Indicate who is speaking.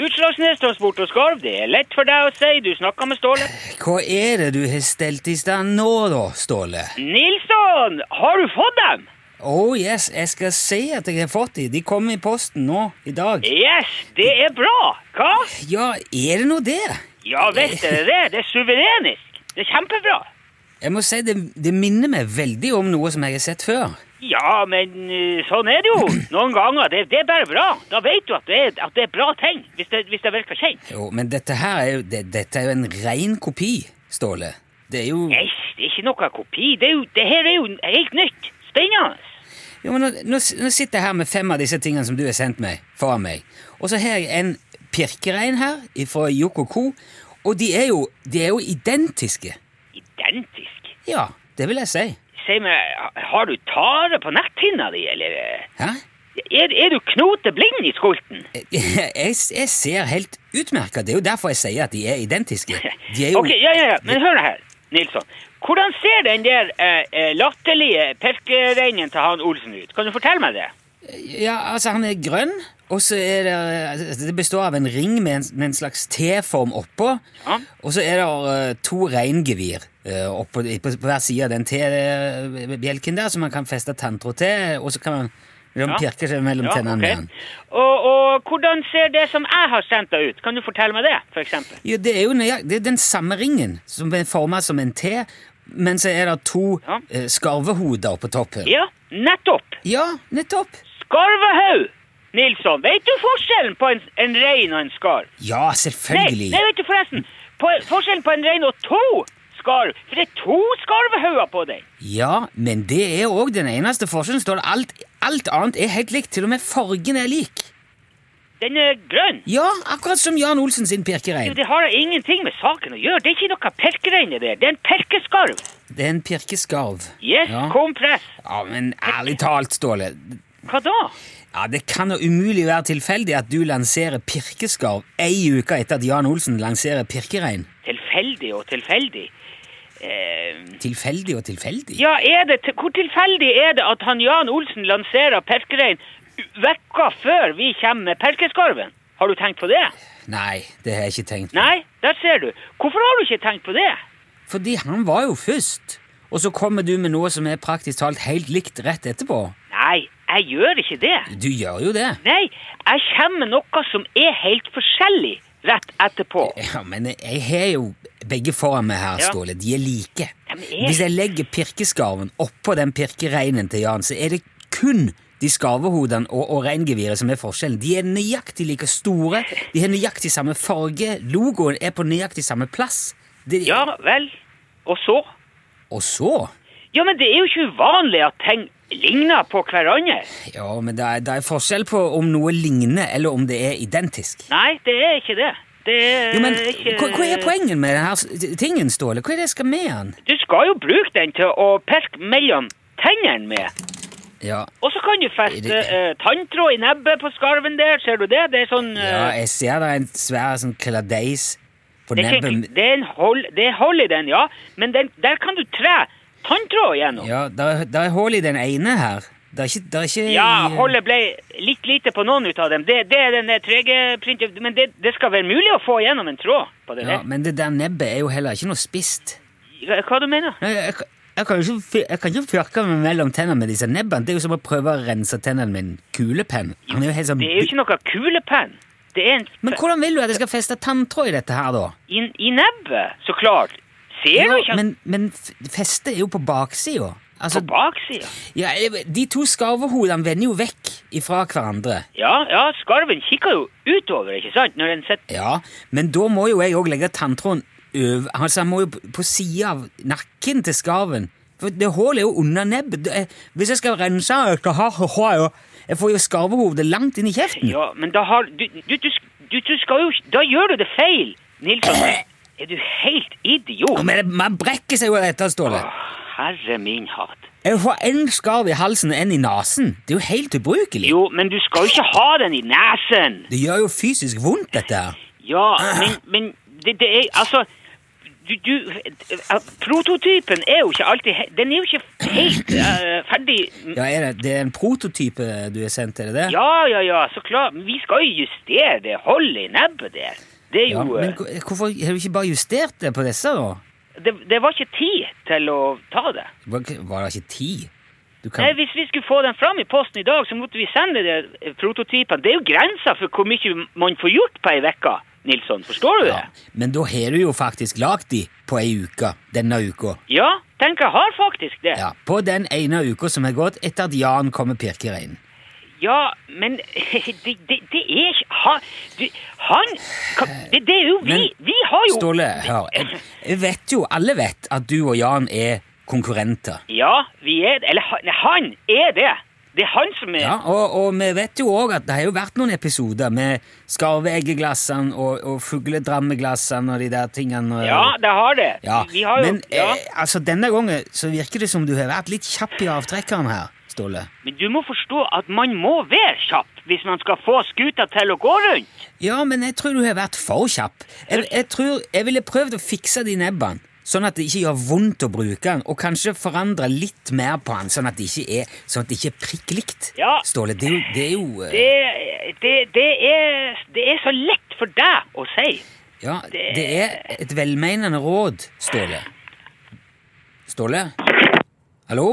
Speaker 1: Utslagsnes Transport og Skarv, det er lett for deg å si, du snakka med Ståle.
Speaker 2: Hva er det du har stelt i stand nå, da, Ståle?
Speaker 1: Nilsson, har du fått dem?
Speaker 2: Oh yes, jeg skal se at jeg har fått de. De kom i posten nå i dag.
Speaker 1: Yes, det er bra. Hva?
Speaker 2: Ja, er det nå det?
Speaker 1: Ja visst er det det. Det er suverenisk. Det er kjempebra.
Speaker 2: Jeg må si det, det minner meg veldig om noe som jeg har sett før.
Speaker 1: Ja, men eh, sånn er det jo noen ganger. Det, det er bare bra. Da vet du at det er, at det er bra ting, hvis det, hvis det virker kjent.
Speaker 2: Jo, men dette her er jo, det, dette er jo en ren kopi, Ståle. Det er jo
Speaker 1: Nei, det er ikke noe kopi. Det, er jo, det her er jo helt nytt. Spennende.
Speaker 2: Jo, men nå, nå, s- nå sitter jeg her med fem av disse tingene som du har sendt meg, foran meg. Og så har jeg en pirkerein her fra Yoko Co. Og de er, jo, de er jo identiske.
Speaker 1: Identisk.
Speaker 2: Ja, det vil jeg si.
Speaker 1: Si meg, har du tare på netthinna di, eller eh,
Speaker 2: Hæ?
Speaker 1: Er, er du knoteblind i skolten?
Speaker 2: Jeg, jeg ser helt utmerka. Det er jo derfor jeg sier at de er identiske. De er jo
Speaker 1: Ok, ja, ja, ja. Men hør nå her, Nilsson. Hvordan ser den der eh, eh, latterlige pirkereinen til han Olsen ut? Kan du fortelle meg det?
Speaker 2: Ja, altså han er grønn, og så er det altså, Det består av en ring med en, med en slags T-form oppå.
Speaker 1: Ja.
Speaker 2: Og så er det eh, to reingevir eh, oppå, på, på hver side av den T-bjelken der, som man kan feste tanntråd til, og så kan man de pirke seg mellom
Speaker 1: Ja,
Speaker 2: tennene
Speaker 1: ok.
Speaker 2: med den.
Speaker 1: Og, og hvordan ser det som jeg har sendt deg ut? Kan du fortelle meg det, for eksempel?
Speaker 2: Ja, det er jo nøyaktig det er den samme ringen, som er forma som en T, men så er det to
Speaker 1: Ja.
Speaker 2: eh, skarvehoder på toppen.
Speaker 1: Ja, nettopp.
Speaker 2: Ja, nettopp.
Speaker 1: Skarvehaug! Nilsson, vet du forskjellen på en, en rein og en skarv?
Speaker 2: Ja,
Speaker 1: Nei,
Speaker 2: selvfølgelig.
Speaker 1: nei, vet du forresten. På, forskjellen på en rein og to skarv, for det er to skarvehauger på den.
Speaker 2: Ja, men det er òg den eneste forskjellen. står det. Alt, alt annet er helt likt. Til og med fargen er lik.
Speaker 1: Den er grønn.
Speaker 2: Ja, akkurat som Jan Olsen sin
Speaker 1: Jo,
Speaker 2: pirkerein.
Speaker 1: Det har ingenting med saken å gjøre. Det er ikke noe pirkerein i det. Det er en pirkeskarv.
Speaker 2: Det er en pirkeskarv.
Speaker 1: Yes,
Speaker 2: ja.
Speaker 1: kompress.
Speaker 2: ja, men ærlig talt, Ståle.
Speaker 1: Hva da?
Speaker 2: Ja, Det kan jo umulig være tilfeldig at du lanserer pirkeskarv ei uke etter at Jan Olsen lanserer pirkerein.
Speaker 1: Tilfeldig og tilfeldig. Eh,
Speaker 2: Tilfeldig og tilfeldig?
Speaker 1: Ja, er det, til- hvor tilfeldig er det at han Jan Olsen lanserer Perkerein vekka før vi kommer med Perkeskarven? Har du tenkt på det?
Speaker 2: Nei, det har jeg ikke tenkt på.
Speaker 1: Nei, der ser du. Hvorfor har du ikke tenkt på det?
Speaker 2: Fordi han var jo først. Og så kommer du med noe som er praktisk talt helt likt rett etterpå.
Speaker 1: Nei, jeg gjør ikke det.
Speaker 2: Du gjør jo det.
Speaker 1: Nei, jeg kommer med noe som er helt forskjellig rett etterpå.
Speaker 2: Ja, men jeg har jo begge foran meg her,
Speaker 1: Ja.
Speaker 2: Ståle. De er like.
Speaker 1: Ja, men jeg-
Speaker 2: Hvis jeg legger pirkeskarven oppå den pirkereinen til Jan, så er det kun de skarvehodene og, og reingeviret som er forskjellen. De er nøyaktig like store, de har nøyaktig samme farge, logoen er på nøyaktig samme plass. Det,
Speaker 1: Ja vel. Og så?
Speaker 2: Og så
Speaker 1: Ja, men det er jo ikke uvanlig at ting ligner på hverandre.
Speaker 2: Ja, men det er, det er forskjell på om noe ligner, eller om det er identisk.
Speaker 1: Nei, det er ikke det. Det er
Speaker 2: Jo, men
Speaker 1: Eh, ikke
Speaker 2: hva, hva er poenget med denne tingen, Ståle? Hva er det jeg skal med den?
Speaker 1: Du skal jo bruke den til å pirke mellom tennene med.
Speaker 2: Ja,
Speaker 1: Og så kan du feste
Speaker 2: Det-
Speaker 1: eh, tanntråd i nebbet på skarven der, ser du det? Det er sånn eh,
Speaker 2: Ja, jeg ser det er en svær sånn kladeis på
Speaker 1: det, er ikke,
Speaker 2: nebbet.
Speaker 1: det, er en hold, det er hold i den, ja, men den, der kan du tre tanntråd gjennom. Ja,
Speaker 2: Ja, der, der er hull i den ene her. Det er ikke, der er ikke
Speaker 1: holdet ble litt lite på noen ut av dem. Det, det er den der trege printen, men det, det skal være mulig å få gjennom en tråd på det
Speaker 2: Ja, men det der nebbet er jo heller ikke noe spisst.
Speaker 1: der. Hva du mener?
Speaker 2: Nei, Jeg, kan- jeg kan jo ikke fyr- jeg kan ikke fyrke meg mellom tennene med disse nebbene. Det er jo som å prøve å rense tennene med en kulepenn. Han er jo helt sånn...
Speaker 1: Det er jo ikke noe kulepenn. Det er en...
Speaker 2: Men hvordan vil du at jeg skal feste tanntråd i dette her, da?
Speaker 1: I, i nebbet, så klart. Ser du ikke at
Speaker 2: men, men f- feste er jo på baksida. Altså,
Speaker 1: på baksida?
Speaker 2: ja, jeg- de to skarvehodene vender jo vekk ifra hverandre.
Speaker 1: Ja, ja, skarven kikker jo utover, ikke sant? Når den sitter
Speaker 2: Ja, men da må jo jeg òg legge tanntråden over Altså, han må jo på- på sida av nakken til skarven. For det hullet er jo under nebbet. Det er- Hvis jeg skal rense jeg skal ha- ha- ha- Jeg får jo skarvehodet langt inn i kjeften.
Speaker 1: Ja, men da har du, du, du, du, du skal jo Da gjør du det feil, Nilsson. Er du helt
Speaker 2: Ja,
Speaker 1: idiot?
Speaker 2: Men det- man brekker seg jo av dette, Ståle.
Speaker 1: Herre min hatt.
Speaker 2: Jeg får én skarv i halsen og én i nesen. Det er jo helt ubrukelig.
Speaker 1: Jo, men du skal jo ikke ha den i nesen.
Speaker 2: Det gjør jo fysisk vondt, dette her.
Speaker 1: Ja, men, men det, det er Altså, du, du, eh, prototypen er jo ikke alltid he- Den er jo ikke helt eh, ferdig.
Speaker 2: Ja, er det, det er en prototype du har sendt, er det det?
Speaker 1: Ja, ja, ja, så klart. Men Vi skal jo justere det holdet i nebbet der. Det er
Speaker 2: Ja,
Speaker 1: jo
Speaker 2: men
Speaker 1: eh,
Speaker 2: hvor- hvorfor har du ikke bare justert det på disse, da?
Speaker 1: det, det var ikke tid til å ta det.
Speaker 2: Var var det ikke tid? Du kan...
Speaker 1: Nei, Hvis vi skulle få den fram i posten i dag, så måtte vi sende de eh, prototypene. Det er jo grensa for hvor mye man får gjort på ei uke, Nilsson. Forstår du det?
Speaker 2: ja. Men da har du jo faktisk lagd de på ei uke denne uka.
Speaker 1: Ja, tenk, jeg har faktisk det.
Speaker 2: Ja, På den ene uka som har gått etter at Jan kom med pirkereinen.
Speaker 1: Ja, men det, det, det er ikke Han, du- han kan- det, det er jo vi!
Speaker 2: Eh, Men,
Speaker 1: vi har jo
Speaker 2: Ståle, hør. Jeg, jeg vet jo, alle vet at du og Jan er konkurrenter.
Speaker 1: Ja, vi er Eller han, nei, han er det! Det er han som er
Speaker 2: Ja, og, og vi vet jo òg at det har jo vært noen episoder med skarveeggeglassene og, og fugledrammeglassene og de der tingene. og-
Speaker 1: Ja, det har det.
Speaker 2: Ja,
Speaker 1: Vi har jo
Speaker 2: Men
Speaker 1: ja.
Speaker 2: eh, altså, denne gangen så virker det som du har vært litt kjapp i avtrekkeren her, Ståle.
Speaker 1: Men du må forstå at man må være kjapp hvis man skal få skuta til å gå rundt.
Speaker 2: Ja, men jeg tror du har vært for kjapp. Jeg, jeg tror jeg ville prøvd å fikse de nebbene, sånn at det ikke gjør vondt å bruke den, og kanskje forandre litt mer på den, sånn at det ikke er, sånn at det ikke er prikk likt.
Speaker 1: Ja.
Speaker 2: Ståle, det er jo, det er jo eh,
Speaker 1: Det, det, det, er, det er så lett for deg å si.
Speaker 2: Ja, det er et velmenende råd, Ståle. Ståle? Hallo?